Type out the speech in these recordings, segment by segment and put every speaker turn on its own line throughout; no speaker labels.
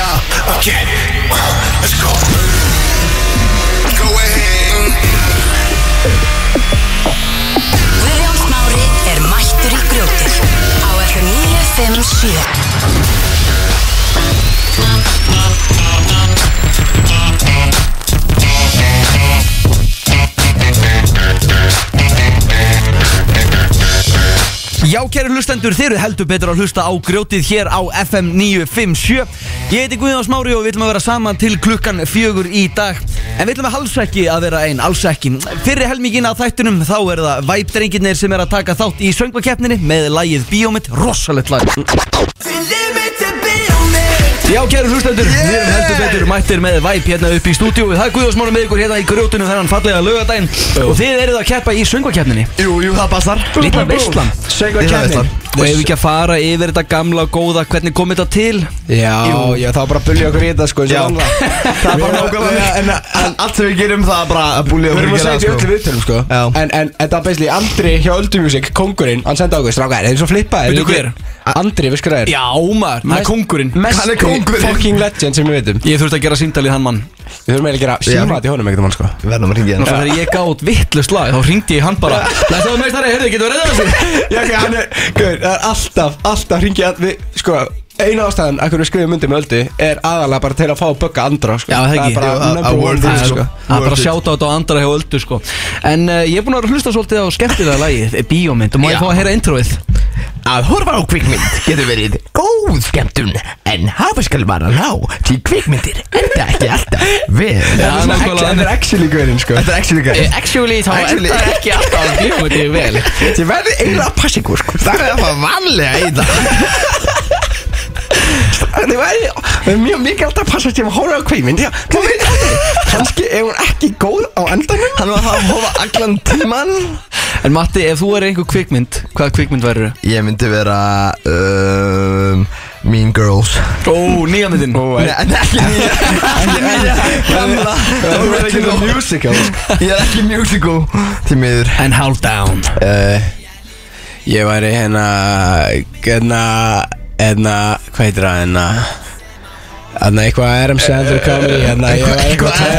Okay, let's go. Go ahead.
Guðjón Smári er mættur í grjótið á FM 957
Já, kæri hlustendur, þeir eru heldur betur að hlusta á grjótið hér á FM 957 Ég heiti Guðjón Smári og við ætlum að vera saman til klukkan fjögur í dag En við ætlum alls ekki að vera einn, alls ekki Fyrir helmingin að þættunum þá er það Væpdrenginir sem er að taka þátt í söngvakeppninni með lagið Bíómynd, rosalegt lag Já, kæru hlustendur, við erum heldur betur mættir með væp hérna upp í stúdíu Það er Guðjósmára með ykkur hérna í grjótinu þennan fallega lögadaginn Og þið eruð að keppa í söngvakeppninni
Jú, jú, það bastar
Lilla veistlan Lilla veistlan Og ef við ekki að fara yfir þetta gamla og góða Hvernig kom þetta til?
Já,
Jú.
já, það var bara að bulja okkur í þetta sko Já, það
er bara nákvæmlega
en, en, en allt sem við gerum það er bara að bulja
Við
okkur
erum að segja þetta í öllu viðtölum sko
Já.
En, en þetta er basically Andri hjá Öldu Music, kongurinn Hann sendi á okkur, strákar, þeir eru svo flippaðir
Veitu
Þeir- Andri, við skræðir
Já maður, hann er kongurinn
Hann er
Mesti
kóngurinn.
fucking legend sem við veitum
Ég þurfti að gera síndalið hann mann Ná,
Við þurfum eiginlega að gera símat í honum einhvern mann sko
Við verðum að ringja
svo
hann
þegar ég gátt vittlust lag Þá ringdi ég í hann bara Læstu að meistari, heyrðu, getur við reyðað þessu?
Já, ok, hann er, gauð, það er alltaf, alltaf hringið að við, sko Einu ástæðan að hverju við skrifum myndir með Öldu er aðalega bara til að fá að bögga Andra sko
Já, það ekki.
er bara
Jú, að- að
number one
worth
thing
it,
sko
sko.
Það er bara að sjáta á þetta á andra hjá öldu sko En uh, ég er búin að vera að hlusta svolítið á skemmtilega lagið eh, Bíómynd, og má ég
Já.
fá að heyra introið
Að horfa á kvikmynd getur verið góð skemmtun en hafa skal vara rá til kvikmyndir enda ekki alltaf vel
Já,
Þetta er svona
nákvæmlega.
actually- þetta er actually gauðin sko
Þetta er actually gæði
Eh, Actually, þá
Actually.
endar ekki alltaf bíómyndi vel
Ég verði eiginlega að passa ykkur sko
Það er það vanlega í það
Það væri það er mjög mikilvægt að passa
um
sem að horfa á kveimind Maður veit aldrei Kanski er hún ekki góð á endanum
Hann var það að hófa allan tíman
En Matti, ef þú er einhver kvikmynd, hvaða kvikmynd verður þau?
Ég myndi vera um, Mean Girls
Ó, nýja myndin
Nei, en ekki nýja Ekki nýja Gamla
Þú verður ekki með
Original.
musical sko.
Ég er ekki musical Því miður Eh,
And Hold Down
uh, Ég væri hérna Hérna Hérna Hvað heitir það hérna Hérna eitthvað Adam Sandler comedy Hérna ég væri eitthvað
Adam
Ég væri-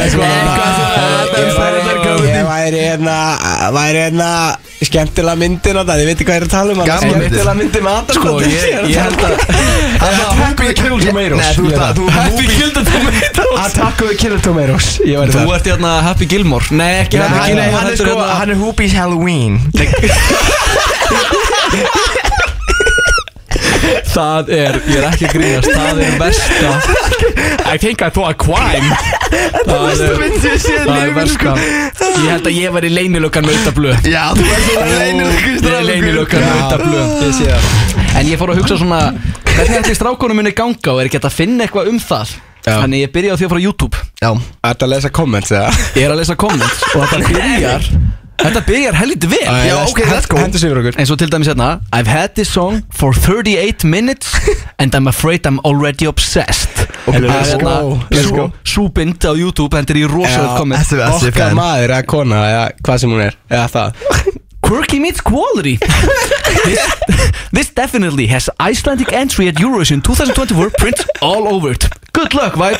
Sandler comedy.
Ég væri hérna Væri hérna Skemmtilega myndin á það Ég veit ekki hvað ég er að tala um hann.
Gamla myndin.
Skemmtilega myndin með Adam
Sko,
Sandler.
ég, ég held að
Attack of the Killer Tomatoes
Nei, þú ert að- þú ert að-
Gilda Tomatoes
Attack of the Killer Tomatoes Ég væri
Þú
það
ert hérna Happy Gilmore Nei, ekki
Nei,
Happy
hann,
Gilmore
hann, er
heldur
sko,
hérna-
hann er Hoopies Halloween
Það er, ég er ekki að grínast Það er versta I think I thought a crime Það er Það er
sko.
versta Ég held að ég væri leynilökan nautablu
Já, þú ert svona leynir
Ég er leynilökan nautablu
Ég sé það
En ég fór að hugsa svona Hvernig ætti strákonum muni ganga og er ekki hægt að finna eitthvað um það
Já.
Þannig ég byrja á því að fara á YouTube
Já,
Þetta að lesa comments eða
Ég er að lesa comments og þetta byrjar Þetta byrjar helviti vel
Já, ok, let's go.
Hendur sig yfir okkur
eins og til dæmis hérna I've had this song for 38 minutes and I'm afraid I'm already obsessed
Ok,
Hello,
let's
hérna,
go, let's
sú-
go.
Súbind á YouTube hendur í rosalega komment Oh,
þessi- þessi
Okkar
fan.
maður eða kona eða hvað sem hún er Eða það
Quirky meets quality this, this definitely has Icelandic entry at Eurovision 2024 print all over it Good luck, vibe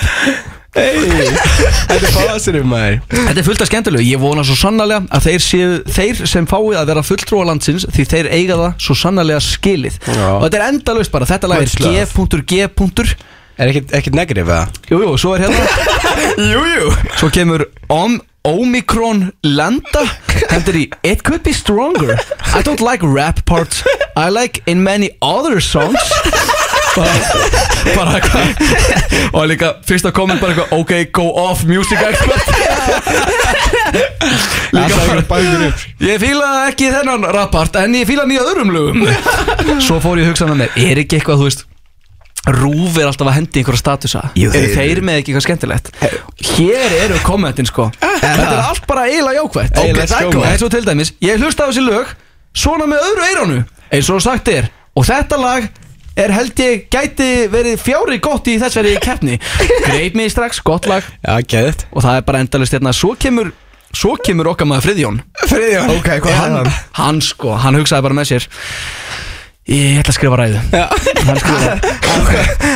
Hey, Þetta er fásirum maður
Þetta er fullt af skemmtilegu, ég vona svo sannarlega að þeir, séu, þeir sem fáið að vera fulltrúa landsins því þeir eiga það svo sannarlega skilið
Já.
og þetta er endalaust bara, þetta lag
Much love.
er g.g.
Er ekkert, ekkert negativ eða?
Jú, jú, svo er hérna
Jú, jú
Svo kemur om, Omicron Landa Hendur í It could be stronger I don't like rap parts I like in many other songs Bara, bara eitthvað Og líka fyrsta komment bara eitthvað Ok, go off music expert Líka
Það
bara
er bæður upp
Ég fíla ekki þennan rappart en ég fíla hann í öðrum lögum Svo fór ég að hugsa með mér Er ekki eitthvað, þú veist Rúf er alltaf að hendi einhverja statusa
Jú,
Eru
þeir-
þeir með ekki eitthvað skemmtilegt Hér eru kommentin sko Þetta er allt bara eiginlega jákvætt
Ok, Let's það er go. gott.
Eins og til dæmis, ég hlusta á þessi lög Svona með öðru eiranu Eins og sagt er Og þetta lag er held ég gæti verið fjári gott í þessari keppni Greip mig strax, gott lag
Já, geðið
Og það er bara endalist hérna Svo kemur, svo kemur okkar maður Friðjón
Friðjón
ok, hvað er hann?
hann sko, hann hugsaði bara með sér Ég ætla að skrifa ræðu Hann skrifa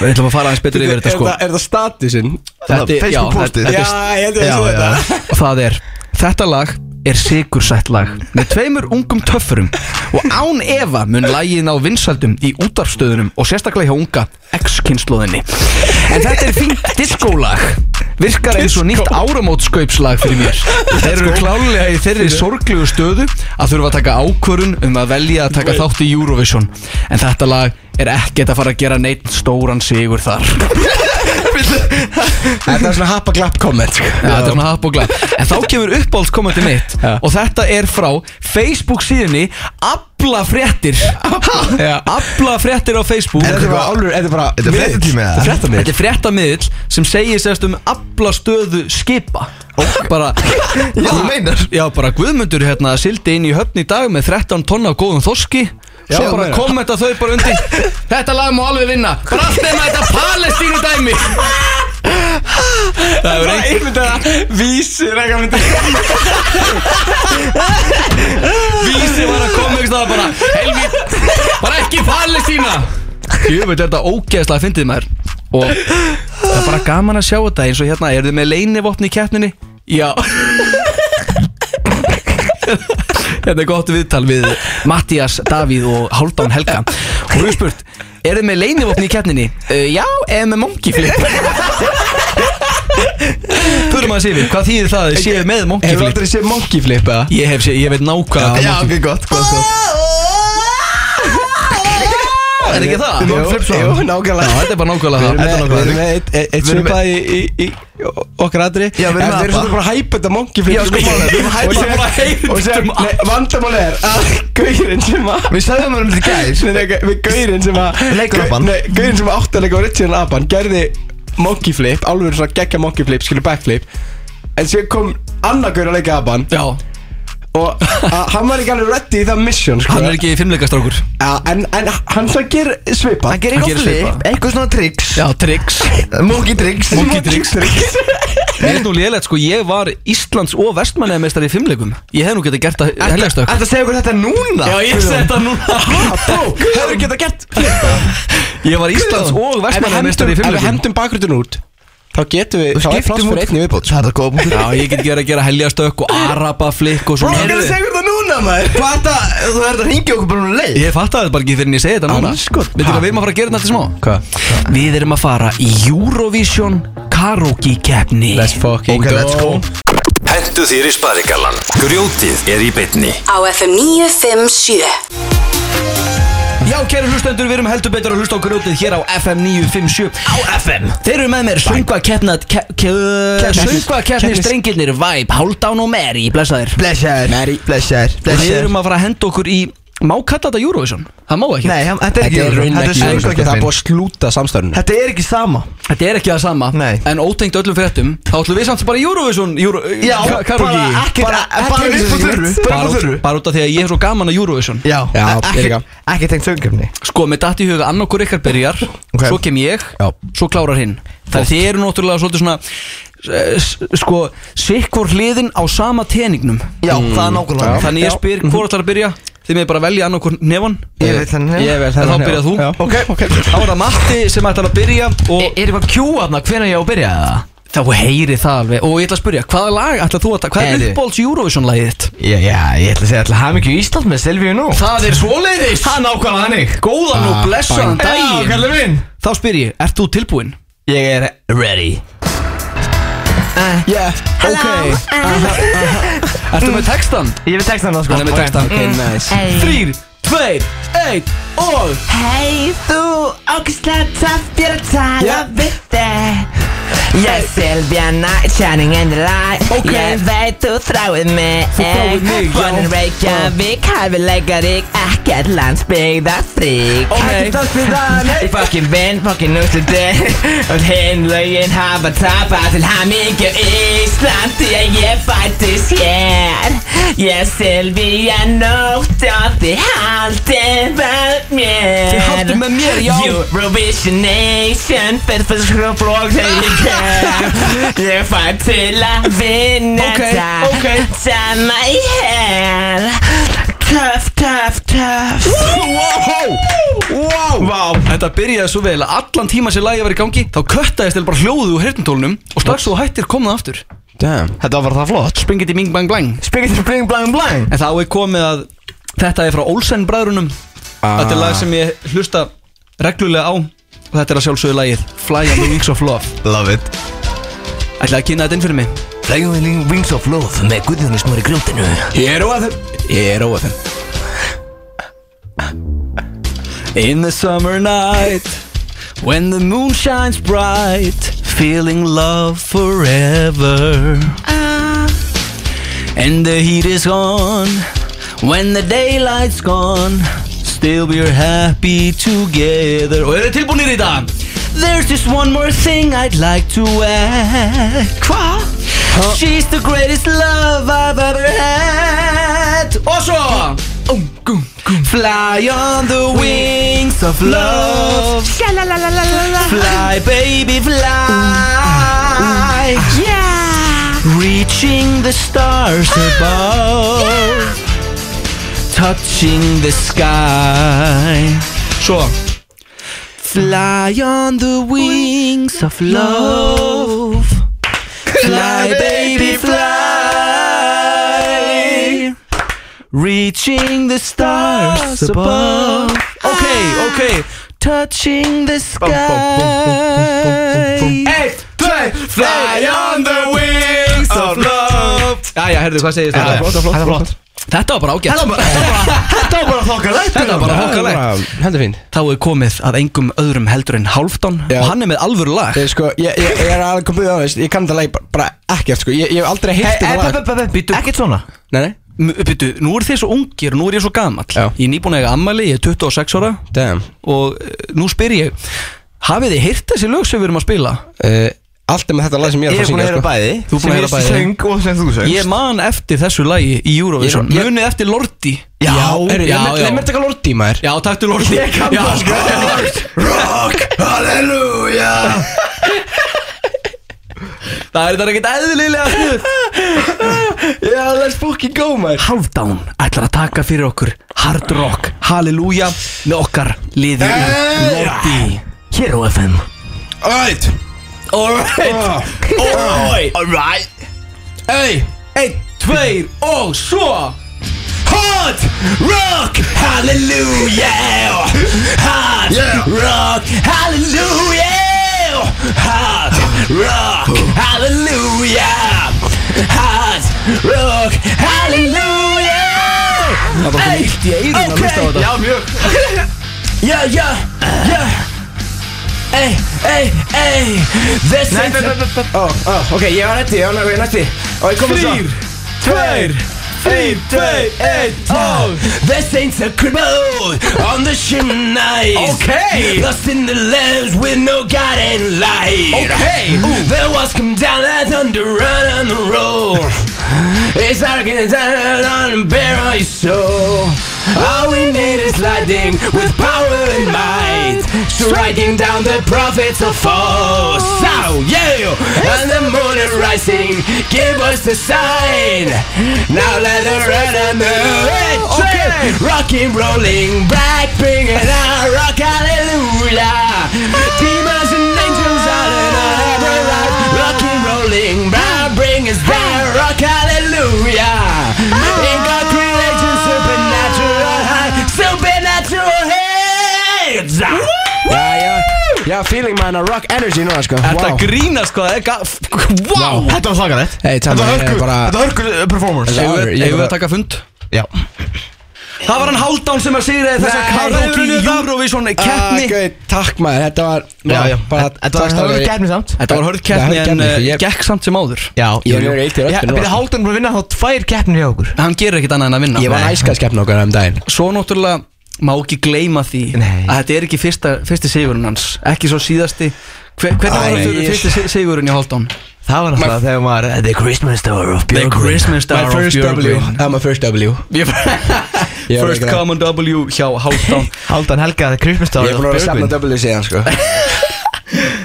Við ætlum að fara aðeins betur yfir þetta sko
Er það statusinn?
Þetta er- já,
Facebook postið.
þetta-
Já,
þetta
ég
er-
heldur að
já,
þú
já.
þetta
Og Það er Þetta lag er sigursætt lag með tveimur ungum töffurum og án efa mun lagið ná vinsældum í útarfstöðunum og sérstaklega hjá unga X-kynnslóðinni en þetta er fínt diskólag virkar eins og nýtt áramótskaupslag fyrir mér þeir eru klálega í þeirri sorglegu stöðu að þurfa að taka ákvörun um að velja að taka þátt í Eurovision en þetta lag er ekkert að fara að gera neitt stóran sigur þar
Þetta er svona sko. hapa glapp komment
Já, þetta er svona happ og glæð En þá kemur uppáhaldskomandi mitt
Já.
Og þetta er frá Facebook síðunni Abla fréttir Abla fréttir á Facebook
Þetta er bara álur, þetta er bara
Þetta er
miðill.
fréttatími, eða?
Þetta er fréttamiðill.
Þetta er fréttamiðl sem segir sérst um abla stöðu skipa Bara
Þú meinar
Já, bara Guðmundur hérna sildi inn í höfn í dag með 13 tonna af góðum þorski Já,
Já,
Svo bara
meira.
kommenta þau bara undir Þetta lag má alveg vinna Bara allt nema þetta palestínu dæmi Það er
Bara einhvern veginn vísir eitthvað myndi
Vísi var að koma ykkur staðar bara Helvít, bara ekki Palestína Jöfnveld, þetta ógeðslega fyndið maður Og það er bara gaman að sjá þetta eins og hérna Eru þið með leinivopni í keppninni? Já Þetta Hérna er gott viðtal við Mattias, Davíð og Hálfdán Helga Og við erum spurt Eru þið með leinivopni í keppninni? Uh, já, eða með monkey flip Förum að séu Hvað þýðir það? að Séu með monkey
Hefur
flip
aldrei séð monkey flip eða?
Ég hef séð, ég veit nákvæmlega
Já, ok, gott, gott, gott
Er það ekki það?
Jú,
sko.
jú,
nákvæmlega
Já, þetta er bara nákvæmlega það
Við
Þetta er
erum með- við erum
nákvæmlega
með eitt- eitt- eitt
Við erum með-
svipað í, í, í okkar aðri
Já, við erum með
Þeir eru
apa.
svolítið bara að hæpa þetta monkey flip
Já, sko, málið, við erum að hypa þetta
Og sem-
bara
hypa
Og sem,
þetta
nei, vandamál er að Gaurinn sem að
Við sagðum hann um þetta í gær
Nei, nei, Við gaurinn sem að
Leikur apann.
Nei, Gaurinn sem að átti að leika original apan Gerði monkey flip, alveg svona geggja monkey flip Skilur backflip En sér kom annar gaur að leika apan
Já,
Og að, hann var ekki alveg ready í það mission sko.
hann er ekki fimmleikastrákur
Já, en, en hann svo ger svipa
Hann gerir eitthvað
Hann gerir svipað.
flip, eitthvað svona tricks
Já, tricks
Monkey tricks
Monkey tricks Mér er nú lélægt sko, ég var Íslands og vestmanneðmeistar í fimmleikum Ég hef nú getið gert að helgastökk
Þetta segja okkur þetta núna
þetta núna
Hefur geta gert
Ég var Íslands og vestmanneðmeistar í
Ef við
fimmleikum
hendum bakgrutun út Þá getum við, þá er
Skiptum
pláss fyrir einni viðbót
Það er góð punktur
Já, ég get gera að gera helgastökk og arabaflikk
Bro,
og svona
hann gerir segja okkur þetta núna maður Hvað er þetta, þú ert að hringja okkur bara um leið
Ég fattaði þetta bara ekki fyrir en ég segi þetta núna
Andskot.
Veitir hvað við erum að fara að gera þetta allt í smá? Hvað? Við erum að fara í Eurovision karaoke keppni
Let's fucking
Ok, let's go
Hentu þér í sparigallan Grjótið er í bytni
Á FM 957
Já, kæru hlustendur, við erum heldur betur að hlusta á grjótið hér á FM 957 Á FM Þeir eru með mér söngvakeppnat Söngvakeppni
Keppnis.
strengirnir Vibe, Haldán og Mary, blessaðir
Blessaður Mary Blessaður
Og við erum að fara að henda okkur í Má kalla þetta Eurovision? Það má ekki
Nei, hann- þetta er ekki Eurovision,
Þetta
Þetta
er
er
svona ekki Það er
söngvakeppnin.
búið að slúta samstörnum
Þetta er ekki sama
Þetta er ekki það sama
Nei.
En ótengt öllum fréttum Þá ætlum við samt bara í Eurovision Euro,
Já,
ka- karaoke.
bara ekkert-
Bara-
bara upp á
bara-
þurru, bara upp á
út-
þurru.
Bara út af því að ég er svo gaman að Eurovision
Já,
Já,
e-
ég
ekki,
líka.
ekki tengt söngjöfni
Sko, með datt í huga annarkur ykkar byrjar
Ok.
Svo kem ég,
Já.
svo klárar hinn Það þið eru náttúrulega svolítið svona eh, s- Sko, sikkur hliðin á sama teningnum Mm.
Já, það er nákvæmlega
Já.
Þannig ég spyr hvor ætlar að byrja Þið með bara velja annarkur nefann
Ég veit hann
Ég vel
En þá byrjað þú.
Já. Ok, ok
Þá er það Matti sem ætlar að byrja Og
E-
Er eitthvað kjú aðna, hvenær ég á að byrja það?
þá heyri það alveg Og ég ætla að spyrja, hvaða lag ætlar þú að taka Hvað er
Heyrðu.
uppbólds Eurovision-lagið þitt?
Já, já, ég ætla að segja alltaf hafði mikið Ísland með Silvíu nú
Það er svoleiðis
Það er nákvæmlega hannig
Góðan og blessaðan
Já,
daginn
kallið minn
Þá spyr ég, ert þú tilbúinn?
Ég er ready
Yeah,
Ok Ertu með textan?
Ég vil texta hann sko
Hann er með textan Ok, nice Þrýr, tveir, eitt og
Hei þú, ógislega töff ég er að tala
Já.
við þig Ég er Silvíana, shining in the light
Ok.
Ég veit þú þráið mig
Þú þráir mig, já.
Bonin Reykjavík, hæfileikarík, ekkert landsbyggðarfrík
Ekkert
Ég fokkin vinn, fokkin úrsluti Öll hinn lögin hafa tapað til hamingju Ísland Því að ég fættist hér Ég er Silvía Nótt og þið haldið með mér
Þið haldið með mér, já.
Eurovision Nation Fyrir fyrir skrúflók þegar ég kem Ég fæ til að vinna
Ok,
þetta
ok.
Sama í hel Töff, töff, töff
Wow. Þetta byrjaði svo vel að allan tíma sem lagið var í gangi Þá köttaðist eða bara hljóðu úr hirtintólnum Og strax þú hættir komnaði aftur
Damn
Þetta var bara það flott
Springið í ming bang blang
Spengið bling blang blang
En þá er komið að þetta er frá Olsen bræðrunum Þetta er lag sem ég hlusta reglulega á Og þetta er að sjálfsögðu lagið Fly on the wings of love
Love it
Ætlaði að kynna þetta inn fyrir mig
Flægjóðin Wings of Love með Guðjónu Smári Grjótinu
Ég er óað þeim Ég er óað þeim
In the summer night When the moon shines bright Feeling love forever And the heat is on When the daylight's gone Still we're happy together Og eru tilbúinir í dag? There's just one more thing I'd like to add Hva? She's the greatest love I've ever had Og svo um, gum, gum. Fly on the wings of love Fly baby fly Reaching the stars above Touching the sky Svo Fly on the wings of love Fly baby fly Reaching the stars above Ok, ok Touching the sky Eitt, tvei Fly on the wings of love Jæja, herðu, hvað segir þetta? Flott, flott, flott Þetta var bara ágætt
Þetta var bara þokkalegt
Þetta var bara hókalegt
Hendur fín
Þá er komið að engum öðrum heldur en Hálfdán
Já.
Og hann er með alvöru lag
Ég sko, ég, ég, ég er alveg komið ávist Ég kann þetta lag bara- bara ekkert sko Ég, ég hef aldrei heyrt þetta lag
Býtu,
Ekkert svona
Nei, nei
býtu, nú er þið svo ungir og nú er ég svo gamall
Já.
Ég er nýbúin að eiga ammæli, ég er 26 ára
Damn
Og eh, nú spyr ég Hafið þið heyrt þessi lög sem við erum að spila?
uh, Allt er með þetta lag sem ég
Ég
er
er
að fá að
búin að heyra
syngja sko
bæði
Þú er búin að heyra bæði.
Sem ég söng og sem þú söngst
Ég man eftir þessu lagi í Eurovision
Ég- ég-
Munið eftir Lordi
Já, er, já, já Nei, mér taka lorti maður
Já, takk til Lordi Ég kann það sko
Rock, halleluja
Það er þetta ekkert eðlilega sniður
Já, let's fucking go maður
Halfdown ætlar að taka fyrir okkur Hard Rock, Halleluja með okkar liði í Lordi
Hér á FM
Alright
Alright Alright
Alright
Hey
Einn, tveir og svo
Hot rock, hallelujah Hot rock, hallelujah Hot rock, hallelujah Hot rock, hallelujah
Það var svona illt í eyrun að hlusta á þetta
Já, mjög Já, já, já Ey, ey, ey This
Nei, nei, nei, nei, nei Ó, ó, ok, ég var nætti, ég var nætti, ég var nætti Og ég kom að svo
Þrýr, tveir, þrýr, tveir, einn og
This ain't a cripple on the shin ice.
Okay.
Lost in the lens with no guiding light.
Okay.
Ooh. The walls come down that thunder run on the road. it's like getting down on and bare on your soul. All we need is lightning with power and might, striking down the prophets of false. So yeah, and the moon is rising. Give us the sign. Now let the red and the red
Oh,
train rocking, rolling, black, bringing our rock, hallelujah. Demons and angels on and on every rock, rocking, rolling, black, bring us back, rock, hallelujah. In God creation, supernatural high, supernatural heads.
Já, já, já, feeling man að rock energy núna sko
Þetta
Wow.
grínast hvað það er gaf Wow
Þetta var slagalegt
Hey, Tommy, ég er bara-
hörku eh, performance
Þetta-
Eigum við-
Ég
eigum við
bara-
að taka fund?
Já
Það var hann Haldán sem að segja þess að
Nei,
karaoke
Eurovision
í
þetta-
Eurovision
Ah,
keppni
gauð, Takk maður, þetta var
Já,
vá,
já
bara-
Þetta var
takk,
hörku
Tommy.
keppni samt
Þetta var hörð
Þetta var
keppni
hörð
en
keppni,
eh,
ég-
gekk samt sem áður
Já
Ég er mjög eitt í röddinni
Byrði
núna, sko.
Haldan búin að vinna þá tvær keppnir hjá okkur
Hann gerir ekkit annað en að vinna
Ég var
Nei.
æskaskeppn okkar um daginn
Svo náttúrulega má ekki gleyma því
Nei.
að þetta er ekki fyrsta, fyrsti sigurinn hans Ekki svo síðasti Hver, Hvernig var
Æ,
þetta
ég-
fyrsti si- sigurinn í Haldán?
Það var náttúrulega þegar maður uh, The Christmas Tower of Björgvin
My first W Það var my first W Ég var
First
ekki það.
common W hjá Haldán
Haldan Helga The Christmas
Ég
Tower
er
of
búin að vera að safna
Björgvin
W síðan sko
Við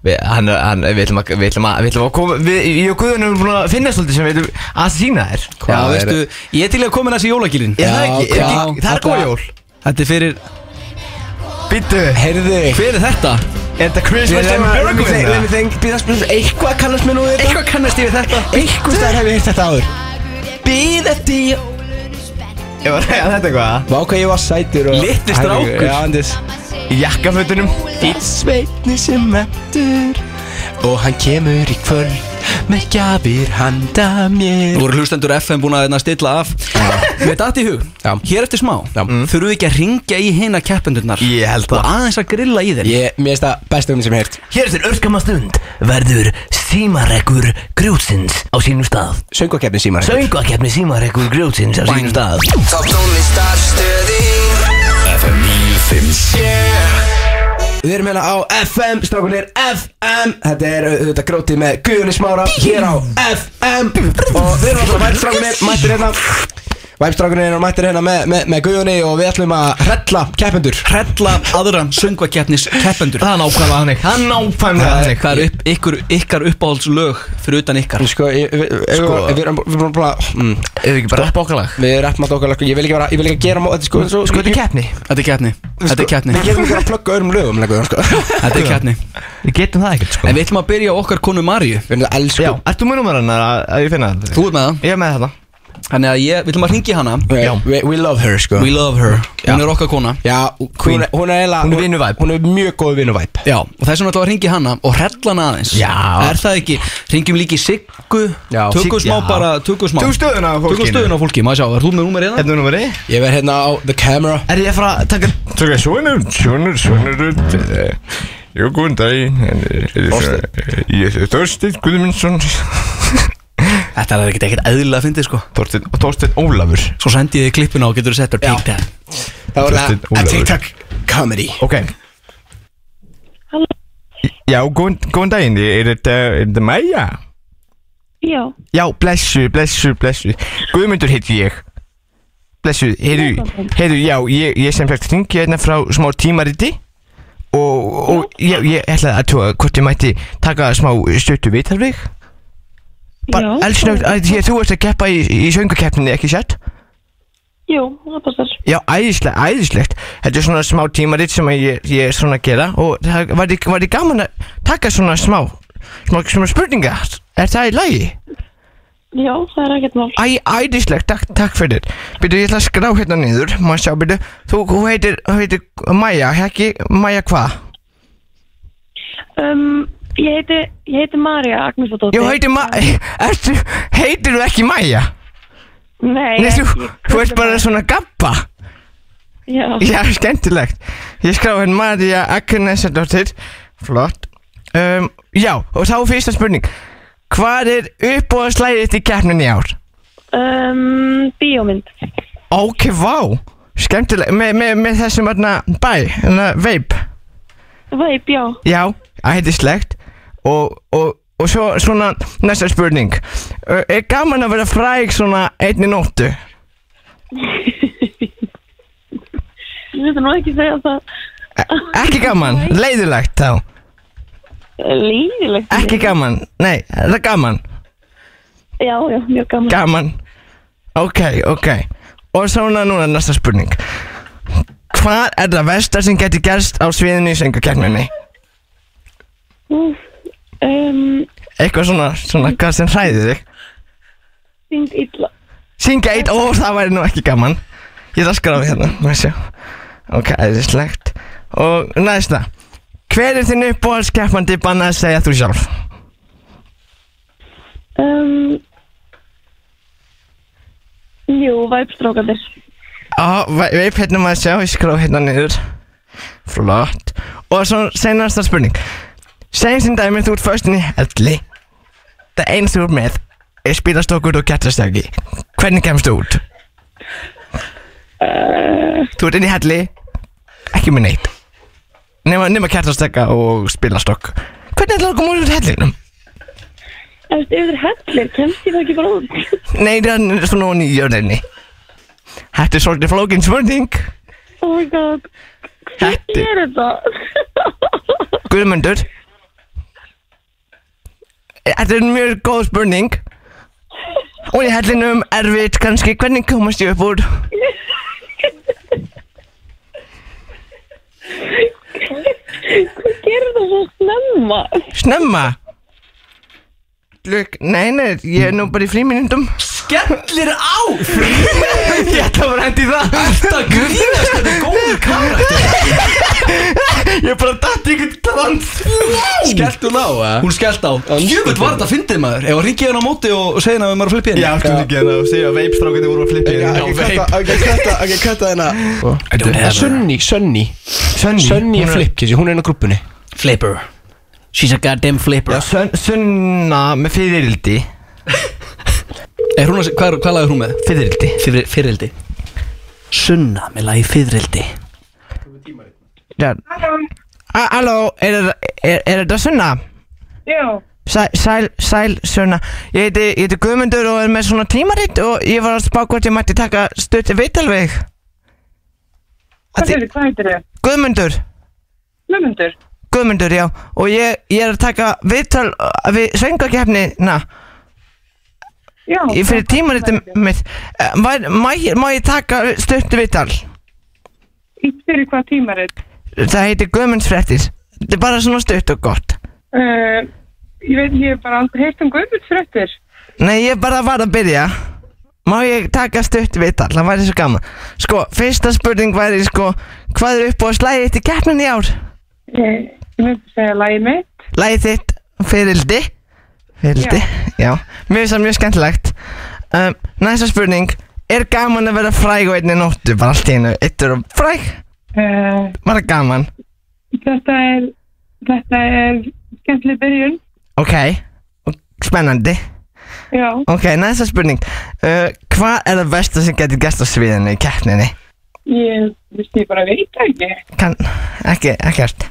Við- hann, hann, við ætlum að, við ætlum að, við ætlum að koma, við, ég og Guðun erum búin að finna svolítið sem við ætlum að sína þér
Já,
Hvað er-
veistu, ég er til í að koma næst í jólagilin
Er það ekki? Er
já,
ekki það er góð jól
Þetta er fyrir,
Býttu,
Heyrðu
hver er þetta?
er þetta Christmas
Let
time
me- let me
miracle
think- let me
hérna?
think, býða spil Eitthvað kannast mér nú við þetta
Eitthvað kannast ég við þetta
Eitthvað stær hef ég hitt þetta áður
Býð eftir ég
Ég var að reyða þetta eitthvað
Vá hvað ég var sætur og
Litli strákur.
Já, andis
Í jakkafötunum
Þitt sveitni sem mættur Og hann kemur í kvöld Með gjafir handa
Nú
mér
eru hlustendur FM búin að hérna, stilla af Með datt í hug,
Já.
hér eftir smá
Já.
mm. Þurfum við ekki að ringja í hina keppendurnar
Ég held
Og
það
aðeins að grilla í þeir
Ég, mér finnst það besta um sem ég hef hirt
Hér eftir örskama stund verður símarekkur grjótsins á sínum stað
Söngvakefni símar
Söngakefni símarekkur grjótsins á sínum stað
FM 957
Við erum hérna á FM, strákunir FM Þetta er auðvitað grótið með Guðunni Smára Hér á FM Og við erum alltaf væpstrákunir, mættir hérna Væpstrákunir eru mættir hérna með, með, með Guðunni Og við ætlum að hrella keppendur
Hrella aðra söngvakeppnis keppendur
Það er nákvæmlega hannig Það er nákvæmlega
Hvað
hannig
er upp, ykkur, ykkar uppáhaldslög fyrir utan ykkar?
Sko, ég, við, sko. við erum við erum bara mm,
Ef við ekki bara rappa okkar lag
Við rappum alltaf okkar lög, Ég vil ekki vera, ég vil ekki gera mót Sko, sko,
Sko, þetta er keppni
Þetta er keppni Þetta er keppni
Við getum ekki verið að plugga öðrum lögum lengur, sko.
Þetta er keppni
Við getum það ekkert, sko
En við ætlum að byrja á okkar konu Marju
Við erum það
Já,
elsku
ert þú með numurinn að, að ég finna þetta?
Þú ert með það
Ég er með þetta
Þannig að ég, við ætlum að ringi hana
We, we, we love her sko
We love her
Já.
Hún er okkar kona
Já, hún, er- hún er eiginlega
Hún er vinnuvæp.
Hún er mjög góð vinnuvæp
Já, og þess vegna ætlum við að ringi hana og hrella hana aðeins
Já.
Er það ekki, ringjum líki Siggu
Já.
Tökum
Sig-
smá
já.
bara, tökum smá
Tökum stöðuna á
Tökum
fólkinu.
stöðuna á fólki, maður sjá, er þú með númer eða?
Hérna er numurinn
Ég verð hérna á the camera
Er ég að fara að taka
Svona, svona, svona, svona rödd eh, Jú, góðan daginn en, eh, eh, Ég er Þorsteinn Guðmundsson
Þetta er ekkert ekkert eðlilega að fyndið sko
Þorsteinn Þorsteinn Ólafur
Svo sendi ég þið klippuna og getur þú sett þér pík það
Það var
Justin
það að
Ólafur.
TikTok comedy
Ok Já, góðan, góðan daginn, er þetta, er þetta Maja?
Já,
Já, blessu, blessu, blessu Guðmundur heiti ég Blessu, heyrðu, heyrðu, já, ég, ég sem sagt hringi hérna frá smá tímariti Og, og ég, ég ætlaði að tóa hvort ég mætti taka smá stöttu vitarvig
já,
Bara elsnögt að því að þú ert að keppa í, í söngukeppninni, ekki sett?
jú, það passar.
Já, æðislega, æðislegt. Þetta er svona smá tímaritt sem að ég, ég er svona að gera og það var þið, var þið gaman að taka svona smá, smá, smá spurninga. Er það í lagi?
Já, það er ekkert mál.
Æ, æðislegt, takk, takk fyrir. Byrju, ég ætla að skrá hérna niður, maður sjá, byrju, þú þú heitir, þú heitir Maja, ekki Maja hvað?
Um, ég heiti, ég heiti Marja Agnesdóttir.
Jú, heitir Maja, ertu, heitir þú ekki Maja?
Nei,
Nei,
ég-
þú,
ég-
þú ert bara svona gabba.
Já,
Já, skemmtilegt. Ég skrá henn Maria Agnesadóttir. Flott. Um, já, og þá fyrsta spurning. Hvað er uppbóðslæðið þitt í keppninni í ár?
um, bíómynd.
Ok, vá. Skemmtilegt. Me, me, með þessum aðna bæ, hérna aðna veip.
Veip, já.
Já, æðislegt. Og, og, og svo svona næsta spurning. Uh, er gaman að vera fræg svona einni nóttu? E,
Ég veit nú ekki segja það
Ekki gaman. Leiðilegt þá.
líðilegt.
Ekki gaman. Nei, er það gaman?
Já, já, mjög gaman.
Gaman Ok, ok Og svona núna næsta spurning Hvað er það versta sem getur gerst á sviðinu í söngukerninni?
um,
Eitthvað svona, svona, hvað sem hræði þig?
syng illa.
Syngja eitt, ó, það væri nú ekki gaman Ég ætla að skráði hérna, maður sjá Ok, æðislegt Og næsta Hver er þinn uppbóðskeppandi bannað að segja þú sjálf?
Um, jú, væpstrákandir.
Á, veip hérna maður sjá, ég skráði hérna niður Flott Og svo senasta spurning Segjum sem dæmi þú ert föstin í helli Það eins þú ert með er spilastokkur og kjartastaki Hvernig kemst þú út? Þú ert inn í helli Ekki með neitt Nema, nema kjartastekka og spilastokk Hvernig ætlaðu að koma út úr hellinum?
Ef þetta yfir hellir, kemst ég það ekki bara út?
Nei, það er svona ofan í jörðinni Þetta er svolítið flókin spurning
Oh my god. Hvað
Þetta-
er þetta?
Guðmundur þetta er mjög góð spurning Og í hellinum erfitt kannski Hvernig komast ég upp úr?
Hvað gerir það svo snemma?
Snemma Lug, nei, nei, ég er nú bara í fríminundum
Skellir á
Ég ætla bara að hendi það
Þetta grínast Þetta er góð karakter
Ég bara dætti ykkur trans
Skellt hún á, eða?
Hún skellt á Jöfnveld var þetta að fyndið maður Ef að ringi hérna á móti og segja hérna að við maður að flippi henni
Já, sko ekki hérna og segja að veipstrákinni voru að flippi hérna
Ok, kvarta, ok, kvarta, ok, kvarta hérna
Sunny, Sunny Sunny er flipkissi, hún er inn á grúppunni
Flipper She's a goddamn flipper
Já, sun, sunna með fyririldi
Er Eh, hún að segja Hvað, hvað lagði hún með?
Fyririldi
Fyrir, fyririldi Sunna með lagi fyririldi
Já A- Halló, er, er, er þetta sunna?
Já,
Sæl, sæl, sæl, sunna Ég heiti, ég heiti Guðmundur og er með svona tímaritt og ég var að spá hvort ég mætti taka stutt veitalveg
hvað er þið, hvað heitir þið?
Guðmundur
Lömmundur?
Guðmundur, já Og ég, ég er að taka viðtal uh, við söngakefnina
Já,
Ég fyrir tímarittum mitt Eh, væri- Má ég- má ég taka stutt viðtal?
Í fyrir hvað tímarit?
Það heitir Guðmundsfrettir Þetta er bara svona stutt og gott
Uh, ég veit, ég hef bara aldrei heilt um guðmundsfrettir.
Nei, ég bara var að byrja Má ég taka stutt viðtal, það væri svo gaman Sko, fyrsta spurning væri sko Hvað er upp á að slæði eitt í keppnin í ár?
Ég, Eh, ég myndi segja lagið mitt.
Læði þitt fyrildi Fyrildi, já, Mér finnst það mjög skemmtilegt um, Næsta spurning Er gaman að vera fræg á einni nóttu? Bara allt í einu, eitt er fræg
Uh,
Bara gaman
þetta er, þetta er skemmtileg byrjun.
Ok, og spennandi
Já,
Ok, næsta spurning uh, Hvað er það versta sem getur gæst á sviðinu í keppninni?
ég, veist, ég bara veit það ekki.
Kann, ekki, ekkert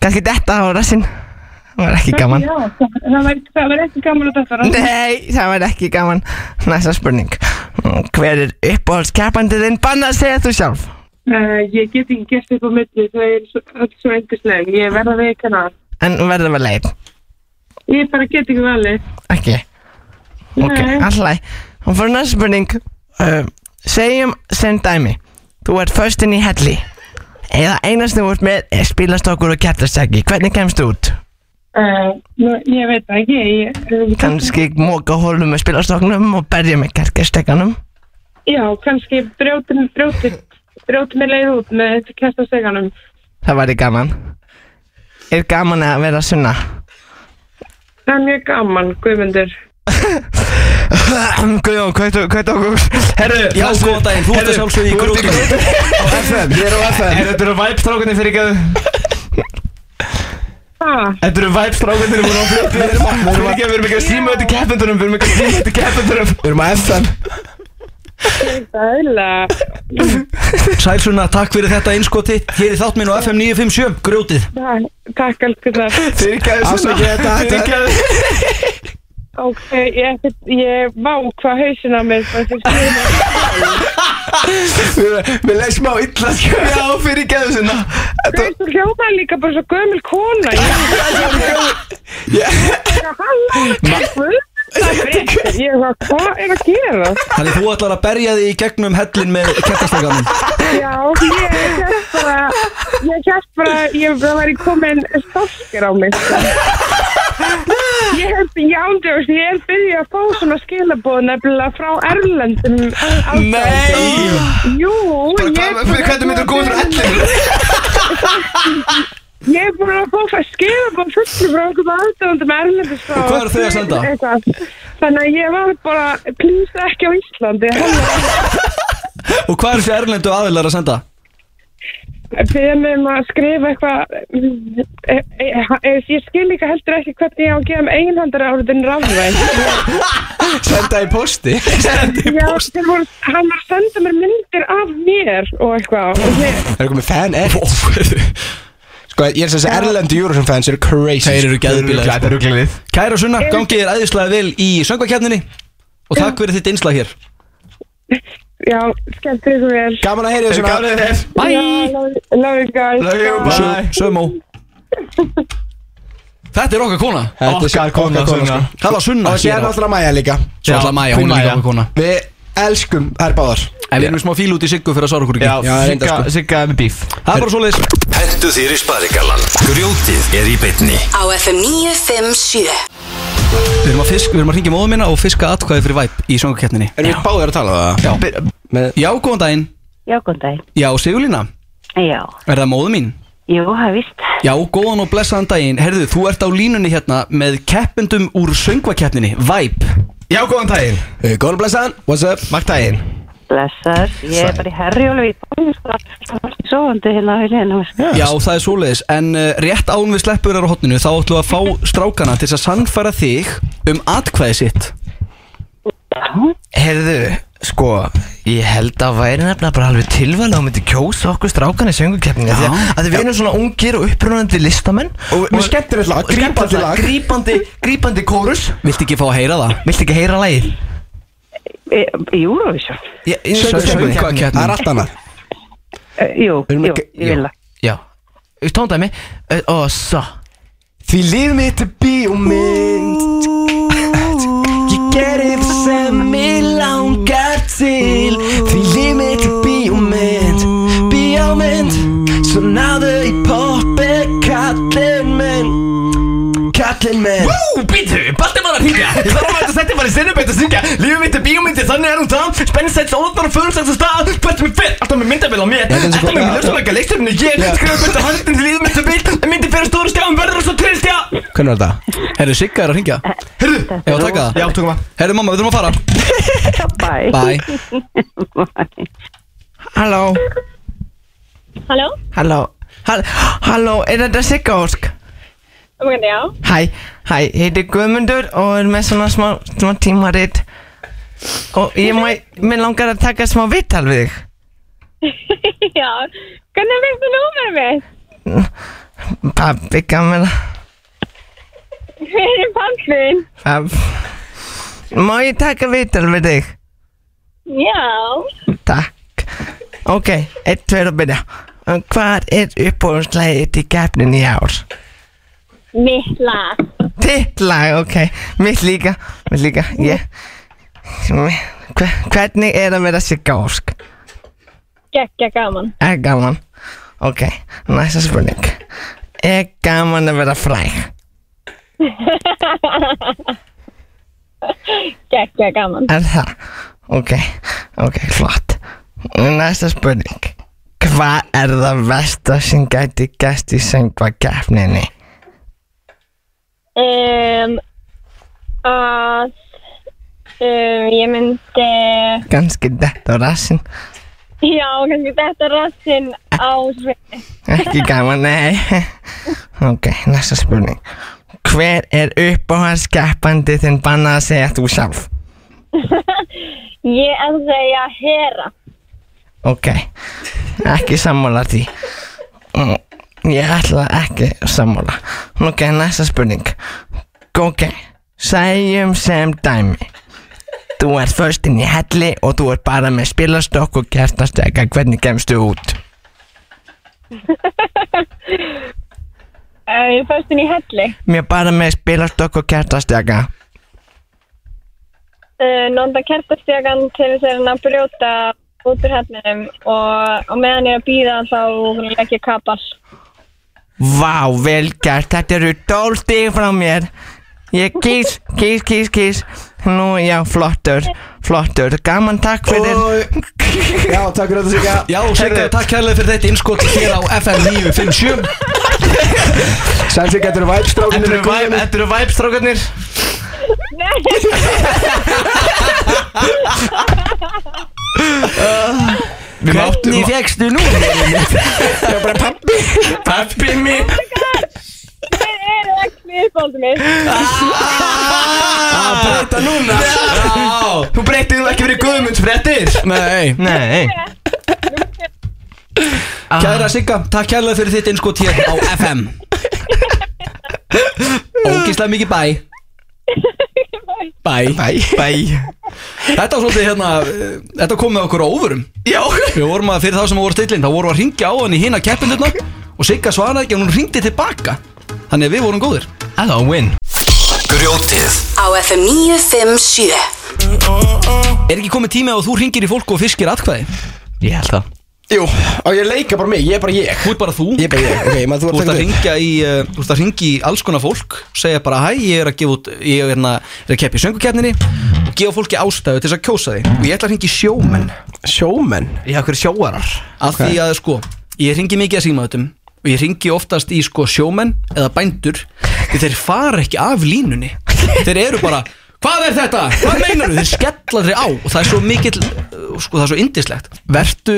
Kannski detta á rassinn Það var ekki gaman
Já, það, það var, það var ekki gaman að sko. þetta rann.
Nei, það var ekki gaman Næsta spurning Mm, Hver er uppáhaldskeppandinn? Banna að segja þú sjálf
Uh, ég get ekki gert upp á milli, það er svo, öll svo einhversleg. Ég verða að veika hana.
En hún verður að vera leið
Ég bara get ekki valið.
Ekki, ok,
Nei.
alltaf Hún fyrir næsta spurning uh, Segjum sem dæmi Þú ert föstinn í helli Eða einast þú ert með er spilastokkur og kertastekki Hvernig kemst þú út?
Uh, nú, ég veit það ekki, ég, ég,
Kannski
Mhm.
móka hólum með spilastoknum og berja með kertastekkanum
já, kannski brjótin, brjótin, brjótin mig leið út með kertasteganum.
Það væri gaman Er gaman að vera sunna?
Það er mjög gaman, Guðmundur.
Guðjón, hvað er það okkur? Herru,
Já, góðan daginn Þú ert að sjálfsögðu í grjótinu
Á FM, ég er á FM
Þetta eru væpstrákinni fyrir ekki
Ha,
Þetta eru væpstrákinni voru að flippi Við erum ekki,
að-
við erum ekki að síma þetta keppendunum Við erum ekki að síma þetta keppendunum
Við erum á FM
það er eiginlega,
Sælsuna, takk fyrir þetta einskoti Hér í þáttminn á FM 957 Grjótið
það- takk elsku það.
Fyrirgæðu
Afsakið þetta, þetta-
Fyrirgæðu
Ok, ég, ekkert- ég vá hvað hausin á mér, hérna. það er fyrir
Við- Við leið smá illa sko Já, fyrirgeðu sinna
Þú hljóðaði líka bara svo gömul kona, ég veit það. Halló, Guðmundur, það er fréttir. Ég var, hvað er að gera?
Þannig þú ætlar að berja þig í gegnum hellin með kertasteganum
Já, ég kæft bara, ég kæft bara, ég það væri komin stolkir á mig. sko. Ég hef, já, Andrjós, ég er byrjuð að fá svona skilabóð nefnilega frá Erlendum ástæðum. Jú, ég er búin að-
Hvernig myndir góður allir?
Ég er búin að fá að skilabóð fullu frá einhverjum aðdöfundum Erlendum frá.
Hvað eru þau að senda?
Eitthvað. Þannig að ég var bara, please ekki á Íslandi, hello.
Og hvað er þessi erlendu aðilar að senda?
Fyrir mig um að skrifa eitthvað e, e, e, Ég skil líka heldur ekki hvernig ég á að gefa um einhandara áriðin rafvæn
Senda í posti
Já, þeir voru, hann var að senda mér myndir af mér og eitthvað og ég,
Það er komið fan edits Sko, ég er þess að erlendu Eurovision fans eru crazy
Þeir eru geðbílaðir, sko.
Þeir eru glæðið
Kæra Sunna, gangi þér æðislega vel í söngvakefninni Og takk fyrir þitt einslag hér
Já, skemmt þig svo vel
Gaman að heyra þessu
Gáðu þér
Bye Love you guys
Love you, bye
Sö- Sömó Þetta er okkar kona
Þetta er
Okkar kona,
okkar
Sunna.
sko.
Það var sunna
Og sér náttúrulega Maja líka
Svo alltaf Maja, hún er líka
Maja.
okkar kona
Við elskum þær báðar
En við erum smá fíl út í Siggu fyrir að sára okkur ekki
Já, reyndar,
Sigga-
sko.
Sigga er með bíf
Það er bara svoleiðis
Hentu þér í sparigallan Grjótið er í beinni
Á FM 957
Við erum að fisk, við erum að ringja móðum minna og fiska atkvæði fyrir væp í söngarkeppninni
Erum við báðar að tala um það?
Já,
Með-
já, góðan daginn
Já, góðan dag.
Já, Sigurlína,
Já,
er það móðum mín?
jú, það er vist.
Já, góðan og blessaðan daginn Herðu, þú ert á línunni hérna með keppendum úr söngvakeppninni, væp
Já, góðan daginn
Eh, Góðan blessaðan, what's up?
Magt daginn
Blessar, ég er bara í herjólu í sko. bóðinskvart sovandi hérna á hérna.
Já, það er svoleiðis En uh, rétt án við sleppur þér á hotninu þá ætlum við að fá strákana til þess að sannfæra þig um atkvæði sitt
Herðu, sko, ég held að væri nefnilega bara alveg tilvæðlega að myndi kjósa okkur strákan í söngukeppninni Því að, að við erum svona ungir og upprunandi listamenn
Og við skemmtir þetta lag,
og skemmtilegt
grípandi lag
Grípandi, grípandi kórus
Viltu ekki fá að heyra það?
Viltu ekki heyra lagið?
Eurovision.
Söngvakeppni.
Söngvakeppni.
Það er allt annað
Eh, Jú,
Erum við
jú,
ekki-
ég vil það.
Já Tóndæmi Øh, Og svo
Því líf mitt er bíómynd Ég gerir það sem mig langar til Því líf mitt er bíómynd Bíómynd Svo náðu í poppi kallinn minn Kallinn minn
Ú, býtu, Balti var að hringja Ég þarf að mæta setja bara í sinnum beitt að syngja Lífið mitt er bíómyndi, þannig er hún það Spennisætt, óðnar og förumsætt á stað Hvert mér fyrr, alltaf með myndabill á mér
er eins
Alltaf
og
með
gott-
mér lögstofleika, leikstofninu ég Skrifa beitt að handin til lífið mitt er bíl En myndi fyrir stóru stjáum, verður og svo trill stjá
Hvernig var þetta?
Herðu, Sigga er að ringja
Heyrðu,
Já, taka það
já, tökum að
Herðu, mamma, við þurfum að fara
Bye.
Bye
Bye.
Halló
Halló?
Halló Hall- Halló, er þetta Sigga Ósk?
Um, já.
Hæ, hæ, heiti Guðmundur og er með svona smá, smá tímarit Og ég má, mér langar að taka smá vittal við þig
já. Hvernig veistu númerið mitt?
Pabbi gamla
Hver er pappin?
Pabb Má ég taka vittal við þig?
Já.
Takk Ok, eitt, tveir og byrja Um, Hvað er uppbúðslæðið í gefnin í ár?
Mitt lag.
Þitt lag, ok Mitt líka, mitt líka Ég Hve- Hvernig er að vera Sigga Ósk?
Gekka gaman.
Er gaman Ok, næsta spurning Er gaman að vera fræg?
Gekka gaman.
Er það? Ok, ok, flott Næsta spurning Hvað er það versta sem gæti gæst í söngvakefninni?
Um, að um, ég myndi,
Ganski detta á rassin
já, kannski þetta rassinn á sveinu.
Ekki gaman, nei Ok, næsta spurning Hver er uppáhaldskeppandi þinn bannað að segja þú sjálf?
Ég er að segja hera.
Ok, ekki sammála því Mm, Ég ætla ekki sammála Ok, næsta spurning Ok, segjum sem dæmi Þú ert först inn í helli og þú ert bara með spilastokk og kertastekka Hvernig gemstu út?
Um, ég fyrst inn í helli.
Mér bara með spilastokk og kertastekka
Uh, Nónda kertastjagan til þess að reyna að brjóta út úr hellinum og, og meðan ég er að býða þá legg ég kapal.
Vá, vel gert, þetta eru 12 stig frá mér Ég kýs, kýs, kýs, kýs Nú, já, flottur, flottur Gaman, takk fyrir
Já, takk fyrir þetta Sigga
Já, Sigga, takk kærlega fyrir þetta innskot hér á FM 957
Sæl Sigga, þetta eru væpstrákunni
Þetta eru væp- Þetta eru væpstrákarnir Við máttum
Hvernig fegstu nú?
Pappi minn
Þeir eru ekki uppáldum minn.
Að breyta núna
Þú breytið þú ekki fyrir guðmundsfrettir
Nei
Nei, Ah.
Kæra Sigga, takk kærlega fyrir þitt innskot hér á FM Ógislega mikið bæ Bæ
bæ, bæ
Þetta var svolítið hérna eh, Þetta kom með okkur á óvörum Já Við vorum að fyrir þá sem voru stillin Þá vorum við að ringja á hann í hina keppindurna Og Sigga svaraði ekki en hún ringdi tilbaka Þannig að við vorum góðir
Á, I thought win
Grjótið
Á FM 957
Er ekki komið tími á að þú ringir í fólk og fiskir atkvæði?
Ég held það
Jú, og ég leika bara mig, ég er bara ég
Þú ert bara þú
Ég er bara ég, ok, maður
Þú
þú
ert að
ert taka þetta upp.
ringja í, uh, þú ert að ringja í alls konar fólk segja bara hæ, ég er að gefa út ég er, hérna, er að keppa í söngukeppninni og gefa fólki ástæðu til þess að kjósa því og ég ætla að ringja í sjómenn
Sjómenn
Ég hafði hverju sjóarar
af því að sko, ég ringi mikið að símaðutum og ég ringi oftast í sko sjómenn eða bændur, því þeir fara ekki af línunni, þeir eru bara hvað er þetta, hvað meinar þeir skella þeir á og það er svo mikill uh, sko það er svo indislegt, vertu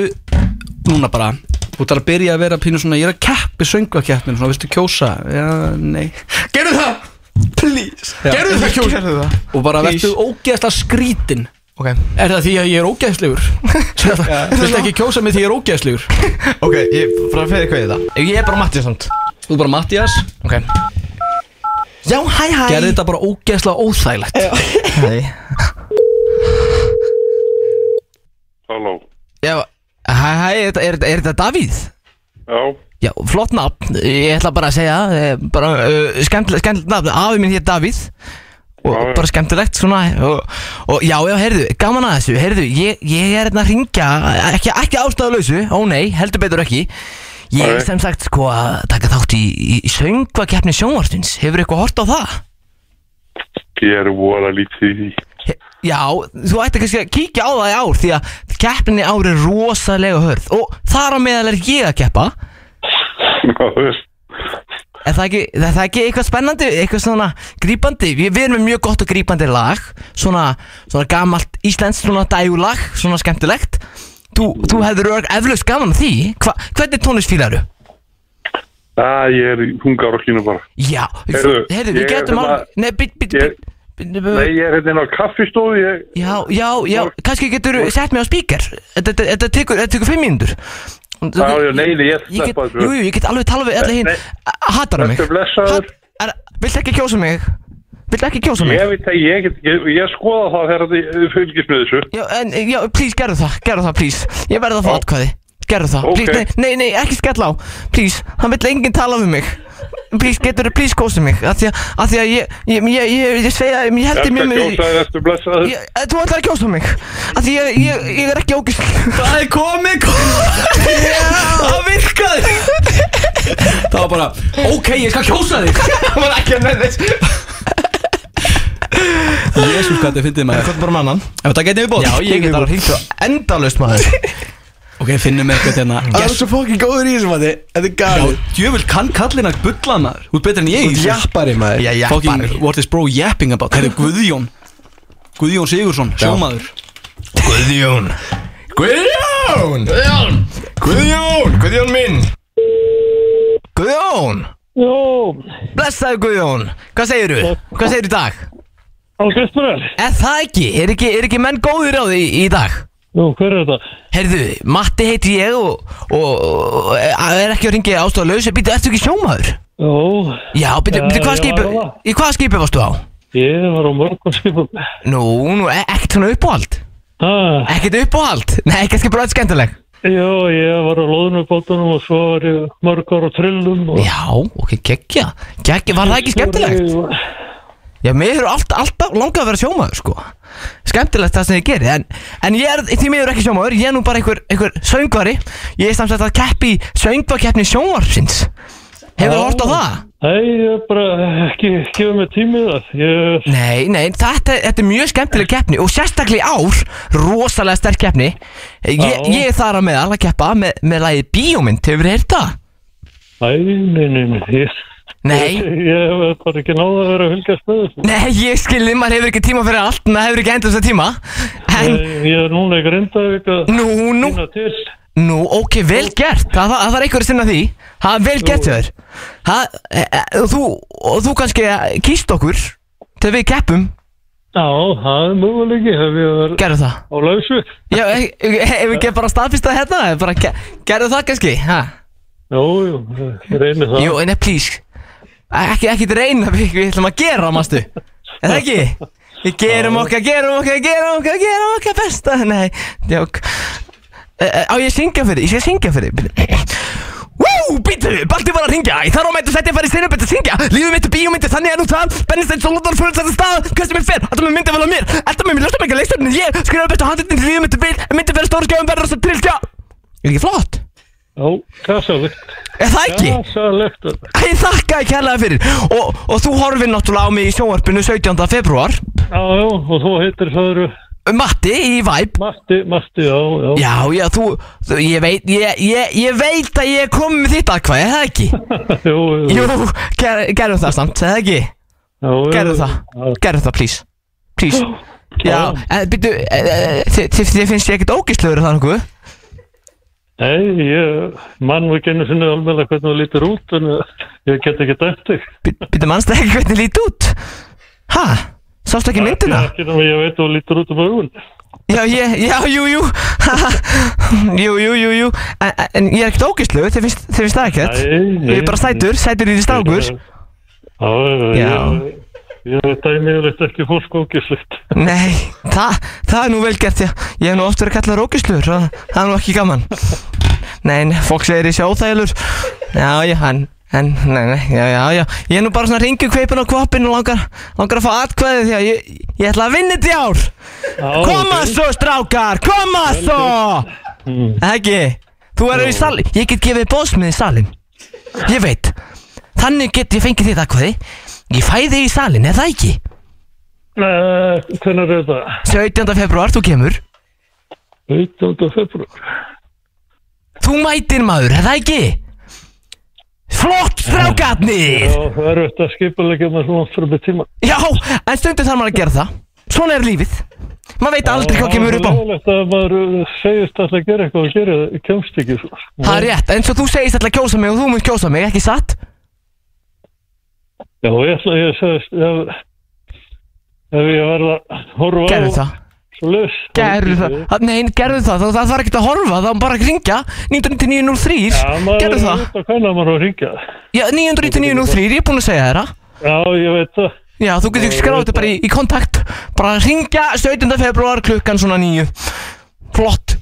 núna bara, þú ert að byrja að vera pínu svona, ég er að keppi söngakeppnin svona, viltu kjósa, já, nei gerðu það, please gerðu það kjósa,
Gerðu það
og bara vertu ógeðslega skrítin
Ok
Er það því að ég er ógæðslegur? Viltu ekki kjósa mig því ég er ógæðslegur?
Ok, ég bara fyrir hvað ég það Ég er bara Matti samt
Þú er bara Mattias
Ok Já, hæ hæ
Gerði þetta bara ógeðslega óþægilegt
Hei
Halló,
Já, hæ hæ, er, þetta- er, þetta- er þetta Davíð?
já,
Já, flott nafn, ég ætla bara að segja eh, bara, uh, skemmtilegt, skemmtilegt nafn afi minn hér Davíð og
Já, já.
bara skemmtilegt svona og, og já, já, heyrðu, gaman að þessu heyrðu, ég, ég er hérna að ringja ekki, ekki ástæðuleysu, ó nei, heldur betur ekki ég er
Nei.
sem sagt sko að taka þátt í, í, í söngvakeppni sjónvartins, hefur eitthvað hort á það?
ég er voða lítið í því.
He- Já, þú ætti kannski að kíkja á það í ár því að keppninni í ár er rosalega hörð og þar á meðal er ég að keppa
Maður,
Er það ekki, er það ekki eitthvað spennandi, eitthvað svona grípandi? Við, við erum með mjög gott og grípandi lag Svona, svona gamalt íslenskt svona dægulag, svona skemmtilegt Þú, þú hefður örg eflaust gaman af því Hva, Hvernig tónlist fílaru?
að ég er í hungarokkinu bara.
Já,
Heyrðu,
heyrðu, við
ég-
getum
hérna-
alveg Nei, bít, bít,
ég-
bít
Nei, ég er hérna inn á kaffistofu, ég,
Já, já, já, kannski getur sett mig á spíker Þetta þetta- þetta tekur, þetta tekur fimm mínútur
Já, já, nei, nei, ég
ég
sleppa
get,
þessu.
Jú, jú, ég get alveg talað við alla hinn
Nei.
Hatar mig
Vertu blessaður.
Hat- er- Viltu ekki kjósa mig? Viltu ekki kjósa mig?
ég veit að ég get, ég, ég skoða það þegar þið fylgist með þessu.
Já, en, já, please, gerðu það, gerðu það, please Ég verði að fá
Já.
atkvæði, gerðu það
Ok.
please, nei, nei, nei, ekki skell á, please Hann vill enginn tala við mig Please, getur þið, please, kósa mig Af því að, af því að ég, ég, ég, ég, ég segja, ég
Þetta
heldur mjög með
kjósaði, þetta blessaður.
Ég- eh, Þú ætlar að kjósa mig Af því ég, ég, ég er ekki ógust
Það er komið komið Það virkaði Það var bara, ok, ég skal kjósa þig Það var ekki að nefnir Jésús, hvað þetta fyndið maður
Hvað er bara mannan?
Ef það getið við bótt
Já, ég get alveg hringt og endalaust maður
Ok, finnum við eitthvað hérna
Það er svo fokkin góður í þessum að þið Þetta er
Já,
galið
djöfull kann kallina bulla maður Þú ert betur en ég í þessu.
Jappari maður
Já, já, bara
Fucking, what is bro yapping about Það er Guðjón Guðjón Sigursson, sjómaður
Guðjón Guðjón Guðjón Guðjón, Guðjón minn Guðjón
Jó,
Blessaðu Guðjón Hvað segiru? Hvað segiru í dag?
á Kristmur
Er það ekki? Er ekki, er ekki menn góðir á því í dag?
Nú, hver er þetta?
Herðu, Matti heiti ég og, og, og er ekki að ringi ástofa lausa Býttu, ertu ekki sjómaður?
Jó,
Já, býttu,
Já,
býttu, hvað
já,
skipi
já.
Í hvaða skipi varstu á?
ég var á mörgum skipum
Nú, nú, e ekkert svona uppáhald
ah,
Ekkert uppáhald? Nei, kannski bara eitt skemmtileg
Jó, ég var á loðnubótunum og svo var ég mörgur á trillum
sko.
og
Já, ok, geggja Geggja, var það ekki skemmtilegt? Já, mér hefur allt, alltaf langað að vera sjómaður, sko Skemmtilegt það sem ég geri En, en ég er, því miður ekki sjómaður Ég er nú bara einhver, einhver söngvari Ég er samsett að keppi í söngvakeppni sjónvarpsins Hefur þú hort á það?
Nei, ég er bara ekki gefið mig tímið það Ég,
Nei, nei, þetta, þetta er mjög skemmtileg keppni og sérstaklega í ár, rosalega sterk keppni
Já.
Ég, ég er þar að með alla keppa með, með lagið Bíómynd, hefur þið heyrt það?
nei, nei, nei, nei ég,
Nei,
ég hef bara ekki náða að vera að fylgjast með þessu
nei, ég skilði, maður hefur ekki tíma fyrir allt maður hefur ekki endast að tíma En,
Ég, ég er núna í Grindavík að
nú, nú,
finna til
nú, ok, vel gert Það, það, það var einhver að sinna því Það er vel gert hjá þér Það, e, e, og þú, og þú kannski kýst okkur til við keppum,
Já, það er möguleiki hef ég verið
gerðu það
á lausu
Já, e- e- hefur ekki bara staðfistað hérna, bara ge- gerðu það kannski, ha?
Jú, jú, ég reyni það
Jú, nei, please Ekki, ekki reyna, við, við ætlum að gera, mástu Er það ekki? Við gerum okkar, gerum okkar, gerum okkar, gerum okkar besta Nei, djók Eh, eh, Á ég að syngja fyrir, ég skal syngja fyrir Bíddu. Woo! Jú, býtu, Balti var að ringja Ég þarf á mættu sætti að fara í sinni betið að syngja Lífið mitt er bíómyndi, þannig er nú það Bennist eitt sólóðan fyrir þess að stað Hversu mér fer, alltaf með myndið vel á mér um Alltaf með mér löstum ekki leikstöfni Ég skrifa bestu handritin til lífið mitt er vil En myndið verður stóra skjöfum verður þess að trillt, já Er ekki flott?
Já, kassalegt
Er það ekki?
Kassalegt
Æ, Ég þakka ekki hérlega fyrir og, og þú horfir náttúrulega á mig í sjónvarpinu 17. februar
Já, já, og þú heitir Söðru
Um Matti í Væp
Matti, Matti, já, já
Já, já, þú, þú ég, veit, ég, ég, ég veit að ég er komið með þitt aðkvæði, er það ekki?
jú,
jú Jú, ger, gerum það samt, er það ekki?
Jú,
Gerum það, gerum það, please Please Já, eh, en byrju, þið finnst ég ekkert ógistlegur að það nokkuð?
Nei, ég mann ekki einu sinni alveg hvernig þú lítir út en eh, ég get ekki dæmt þig
Býttu mannst ekki hvernig lít út? Ha? Sástu ekki myndina?
Ekki, ekki, nema ég veit þú lítir út um augun
Já, ég, já, jú, jú Jú, jú, jú, jú En, en ég er ekkert ógistlu, þið finnst, þið finnst það ekkert
Nei, nei.
Ég er bara sætur, sætur í því strákur
eh, Já, já,
Já.
ég, ég dæmi yfirleitt ekki fólk ógislegt
Nei, það, það er nú vel gert já. Ég hef nú oft verið kallar ógistlur og það er nú ekki gaman Nei, nei, fólk segir ég sé óþægilegur Já, já, en, en, nei, nei, já, já, já Ég er nú bara svona ringu kveipin á kvapin og langar, langar að fá atkvæði því að ég, ég ætla að vinna þetta í ár Koma
ok.
svo, strákar, koma
Vel Mm.
svo Ekki, þú erum í salin, ég get gefið bóðsmið í salin Ég veit, þannig get ég fengið þitt atkvæði Ég fæ þig í salin, er það ekki?
Nei, hvernig er það?
17. februar, þú kemur
18. februar
Þú mætir maður, er það ekki? Flott strákarnir!
Já, það er auðvitað að skipulegja með svona fyrir með tíma
Já, en stundum þarf maður að gera það Svona er lífið Maður veit aldrei hvað kemur upp á
Það er leiðilegt að maður segist alltaf að gera eitthvað og gera það, kemst ekki svo.
Það er rétt, eins og þú segist alltaf að kjósa mig og þú munt kjósa mig, ekki satt?
Já, ég ætla ég að segist, ef, ef ég verða að horfa
Gerðu
á...
það.
Svo laus.
Gerðu það, það- nei, gerðu það, það, það var ekkert að horfa, það var bara að ringja 99903, gerðu
Gerðu
það
Það er hvernig að maður á að ringja.
Já, 99903, ég er búin að segja þér það
Já, ég veit það.
Já, þú getur
Já, ég
skráð
veit
þetta bara í, í kontakt Bara að ringja 17. februar klukkan svona nýju Flott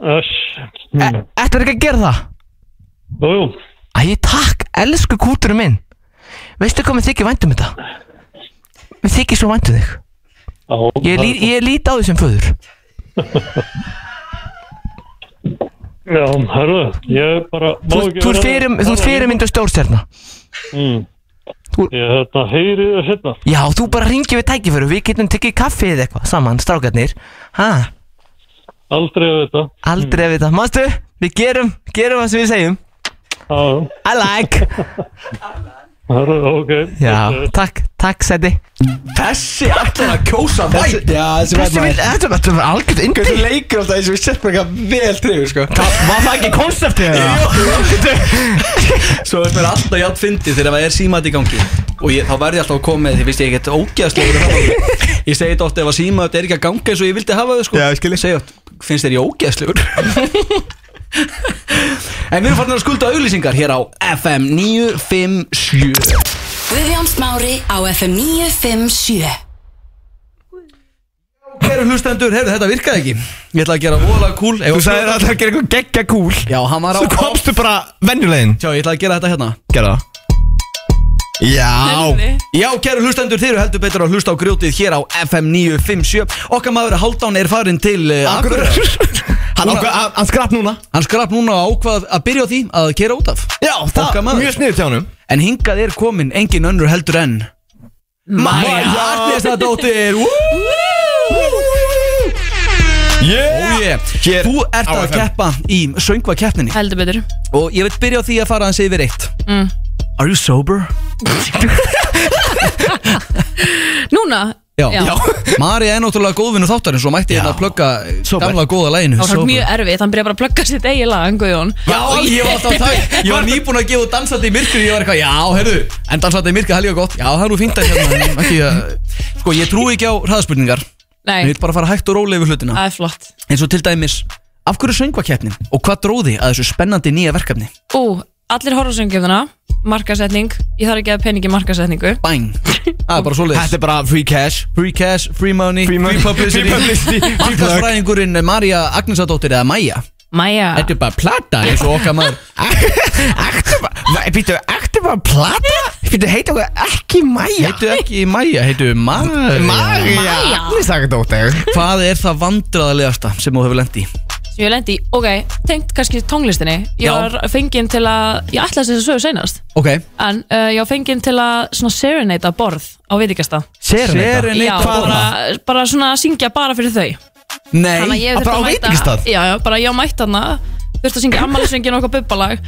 Þess.
Eh. Ættir ekki að gera það?
Hmm. Jú, jú.
Æ, takk, elsku kúturum minn Veistu hvað mér þykir væntum þetta? Mér þykir svo væntum þig Ég, lí, ég lít á því sem föður
Já, herðu, ég bara... má
Þú,
ekki
þú ert
vera-
fyrir, þú ert fyrirmynd og stórstjarna
Mm. Ég þetta heyri það hérna.
Já, þú bara ringir við tækiföru Við getum tekið kaffi eða eitthvað saman, strákarnir Ha,
Aldrei að þetta.
aldrei að vita Mástu, við gerum, gerum það sem við segjum I like
Herðu, ok.
Já, takk, takk Sæti
Þessi ætlar að kjósa væt Já, þessi væt
Þessi vil, þetta þetta var algjörð indi
Hvernig leikur alltaf eins og við setjum eitthvað vel trefur sko
Var það ekki konceptið
Svo er mér alltaf játn fyndið þegar það er símat í gangi Og ég, þá verði ég alltaf að koma með því Vist ég ekkert ógeðslegur að hafa. Ég segi þetta oft ef að símat er ekki að ganga eins og ég vildi hafa þau sko Já, ég skilji Segja oft, finnst þér ég ógeðslegur En við erum farin að skulda auglýsingar hér á FM 957
Guðjón Smári á FM 957
Kæru hlustendur, heyrðu, þetta virkaði ekki Ég ætla að gera vola kúl Þú
sagðir að ætlaði að gera eitthvað geggja kúl
Já, hann var á
Svo komstu bara venjulegin
Sjá, ég ætla að gera þetta hérna
Gerða Já
Já, kæru hlustendur, þeir eru heldur betur að hlusta á grjótið hér á FM 957 Okkar maður Haldán er farin til uh,
Ah.
Akureyrar
Hann ákvað- hann- hann skrapp núna
Hann skrapp núna og ákvað að byrja á því að kera út af
Já, það- mjög
sniður
til honum
En hingað er komin engin önnur heldur en Maja Arnesdóttir Yeah. Oh yeah. Þú ert
á
að
FM.
keppa í söngvakeppninni
Heldur betur
Og ég veit byrja á því að fara hans yfir eitt
mm.
Are you sober?
Núna
Já, Já. Mari er náttúrulega góðvinnu þáttarins og mætti hérna að plugga gamla góða læginu
Það var samt mjög erfitt, hann byrjaði bara að plugga sitt eigin lag, Guðjón
Já, ég var alltaf tæk Ég var nýbúin að gefa út dansandi í myrkri Ég var eitthvað, já, heyrðu, en dansandi í myrkri, það er líka gott Já, það er nú fínt að hérna en ekki, að- Sko, ég trúi ekki á hraðspurningar
Nei.
Ég vil bara fara hægt og rólega yfir hlutina
Það er flott
eins og til dæmis Af hverju söngvakeppnin og hvað dróði að þessu spennandi nýja verkefni?
Ú, allir horfarsöngjöfnuna, markasetning Ég þarf ekki að peningi markasetningu
Bang Það er bara svoleiðis
Þetta er bara free cash
Free cash, free money, free,
money,
publicity
free publicity, free plug.
Markasfræðingurinn Marja Agnesadóttir eða Maja
Maja
Þetta er bara plata eins og okkar maður
Býttu, ertu bara plata? Býttu, heitu okkur ekki Maja
Heitu ekki Maja, heitu Marja
Maja.
Agnistakadóttir Hvað er það vandræðalegasta sem þú hefur lendi?
sem ég lendi í, ok, tengt kannski tónlistinni ég
Já.
var fenginn til að ég ætlaði þess að sögu seinast
Ok
en uh, ég var fenginn til að svona serenata borð á vitikasta
Serenata? Serenata
Já,
borð?
bara, bara svona að syngja bara fyrir þau
Nei,
Þannig að
að
ég þurfti
bara á
mæta-
veitingastað?
Já, já, bara ég á mætt hana þurfti að syngja ammælisvingin og okkar bubbalag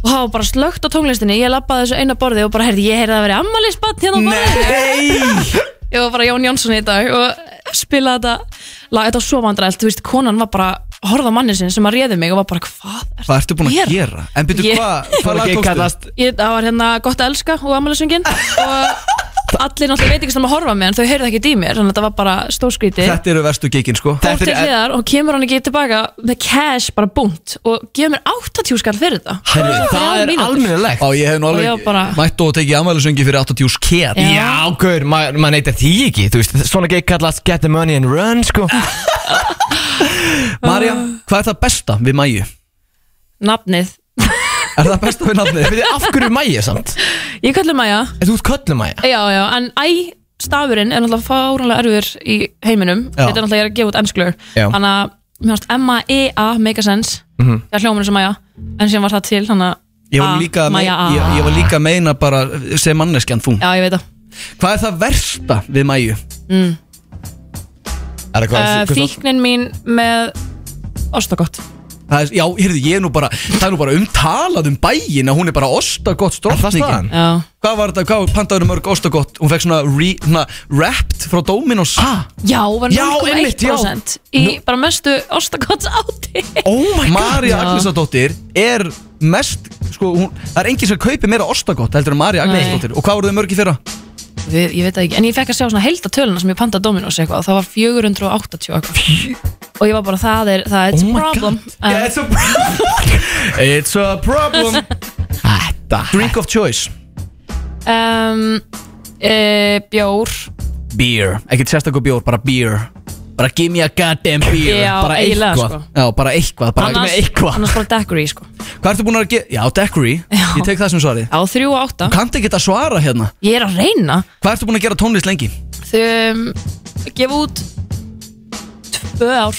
og það var bara slögt á tónlistinni ég labbaði þessu eina borði og bara heyrði ég heyrði að vera ammælisbatt hérna á borðinu ég var bara Jón Jónsson í dag og spilaði þetta lag, þetta var svo vandræðilt, þú veist, konan var bara að horfa á manni sinni sem að réði mig og var bara hvað
Hvað ertu búin að gera? En byrju,
Ég-
hvað hva lag tókstu?
Ég, það var hérna gott að elska og ammælisvingin og allir náttúrulega veit ekki sem að horfa á mig en þau heyrðu ekki í mér, þannig að þetta var bara stórskrítið
Þetta eru verstu gigin sko
fór til hliðar og kemur hann ekki tilbaka með cash bara búnt og gefur mér 80 skall fyrir þetta
Herri, það er almennilegt Á, ég hef nú
Og ég
alveg
var bara-
mætt og tekið amælusöngi fyrir 80 skell
Já.
Já, gaur, ma- maður neytir því ekki Þú veist, svona gig kallast get the money and run, sko
Marja, hvað er það besta við Mæju?
nafnið,
Er það besta við nafnið?
Við af hverju Mæja samt?
ég kallar Maja
En Þú ert köllum Mæja
já já, en æ stafurinn er náttúrulega fáránlega erfur í heiminum
Já.
þetta er náttúrulega ég er að gefa út emsklur
Já.
þannig að mér fannst M-A-E-A make a sense,
Mhm.
það hljóma eins og Maja en síðan var það til, þannig að
Ég var,
A,
líka að
Maja
meina,
A
ég, ég var líka að meina bara eh, sem manneskjan þú
já, ég veit það
Hvað er það versta við Mæju?
mm.
Er
uh, fíknin mín með ostakott
Það er, já, heyrðu, ég er nú bara Það er nú bara umtalað um bæin að hún er bara ostagott strókningin
já
Hvað var þetta, hvað pantaður mörg ostagott? Hún fekk svona, re, svona wrapped frá Dominos ah,
Já, var
Já, einmitt, já.
0,1% í bara mestu ostakotts áti
Oh my Marja
Já.
Agnesadóttir er mest sko, hún, það er enginn sem kaupir meira ostagott heldur en Marja
Nei.
Agnesadóttir og hvað voru þau mörg í fyrra?
Við, Ég veit það ekki, en ég fekk að sjá svona heilda töluna sem ég panta Dominos eitthvað, það var 480 eitthvað og ég var bara, það er, það er it's a problem En-
Yeah, it's a problem It's a problem Þetta Drink of choice
um, e, Bjór
Beer, ekkert sérstakur bjór, bara beer Bara give me a goddamn beer
Já,
Bara
eiginlega,
eitthvað
sko.
Já, bara eitthvað, bara
Annars-
eitthvað
annars bara daiquiri, sko
Hvað ertu búin að gera? Já, daiquiri, ég tek það sem svarið
Já, þrjú og átta
Þú kannt ekki að svara hérna
Ég er að reyna
Hvað ertu búin að gera tónlist lengi?
Þau gefa út tvö ár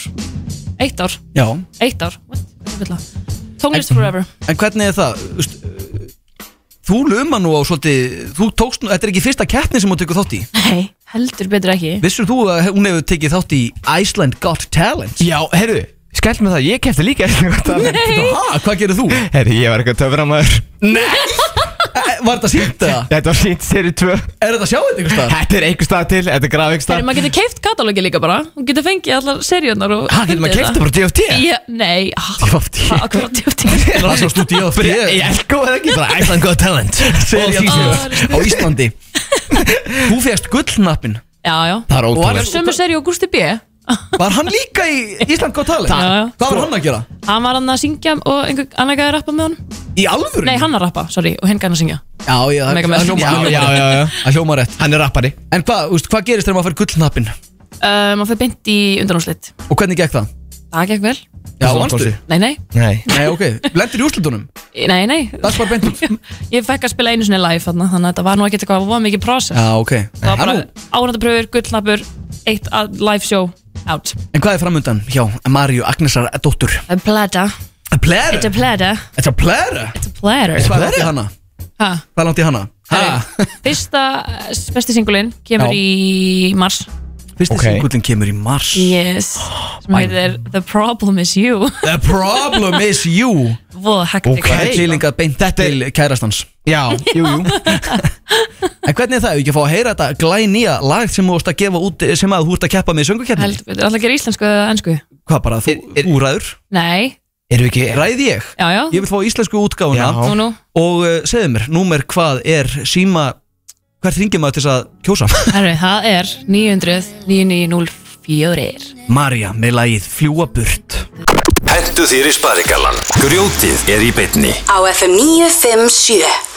eitt ár,
Já
eitt ár What? Hvað er ég að fylla? Tónlist forever
En hvernig er það? Þú veist, uh, Þú luma nú á svolítið Þú tókst nú, þetta er ekki fyrsta keppni sem hún tekur þátt í
Nei, heldur betur ekki
Vissur þú að hún hefur tekið þátt í Iceland Got Talent?
Já, heyrðu, skell með það, ég kefti líka
Nei.
Ha, hvað gerir þú?
Herri, ég var eitthvað töframæður
Nei Var þetta sínt eða?
Þetta var sínt seri 2
Er þetta að sjá þetta einhvers staðar?
Þetta er einhvers stað til, þetta er graf einhvers
Þegar
stað
maður getur keift katalógi líka bara Þú getur fengið allar seríunar og
Ha, getur maður keypt það bara á DFT?
Já, nei
DFT?
Hvað er DFT?
Það sást út í að fyrir
Ég elko eða ekki bara
Iceland Got Talent
Sería
Á Íslandi Þú fegst gullnappin
Já, já
Það er ótrúlegt.
Og sömu seríu og Gusti B
Var hann líka í Ísland Got Talent?
Já, já.
Hvað var hann að gera?
Hann var hann að syngja og einhver annar gæði að rappa með honum
Í alvöru?
Nei, hann að rappa, sorry, og hinn gæði að syngja
Já, já,
Mega með.
það hljómar-
Já,
hljómar
já,
rétt.
já,
Það hljómar rétt
Hann er rappari
En hvað, þú veist, hvað gerist þegar maður fær gullnappin?
Um, Hann fyrir beint í undanúslitt
Og hvernig gekk það?
Það gekk vel
Já, vannstu?
Nei, nei,
Nei
Nei, ok, lendir í úrslutunum?
nei, nei
Það spara beint út
Ég fekk að spila einu sinni live þarna Þannig að þetta var nú ekkert eitthvað, það var mikið process
Já, ok
Það var
En
bara
nú-
ánættapröfur, gullnappur Eitt að- live show, out
En hvað er framundan hjá Marju Agnesar dóttur?
A plata
A platter?
It's a plata
It's a platter?
It's a
Hvað
platter
er langt í hana?
Ha?
Hvað er langt í hana? Ha?
Fyrsta eh, besti singulinn kemur
Já.
í mars
Fyrsti okay. singullin kemur í mars
Yes Sem heitir The Problem Is You
The problem is you
Voða hektik
Það er klílingað beint til kærastans
Já, jú, jú
En hvernig er það, Eigum við ekki að fá að heyra þetta glænýja lag sem þú ert að gefa út eh, sem að þú ert að keppa með í söngukeppni?
Heldur betur, alltaf að gera íslensku eða ennsku
Hvað bara, þú, úræður?
Nei,
Erum við ekki
Ræði ég?
já já,
Ég vil fá íslensku útgáfuna
Já.
nú nú
og uh, segðu mér, númer hvað er síma, hvert ringir maður til þess að kjósa?
Herru, það er 900 9904
Marja með lagið Fljúa burt
Hentu þér í sparigallan Grjótið er í beinni
Á FM 957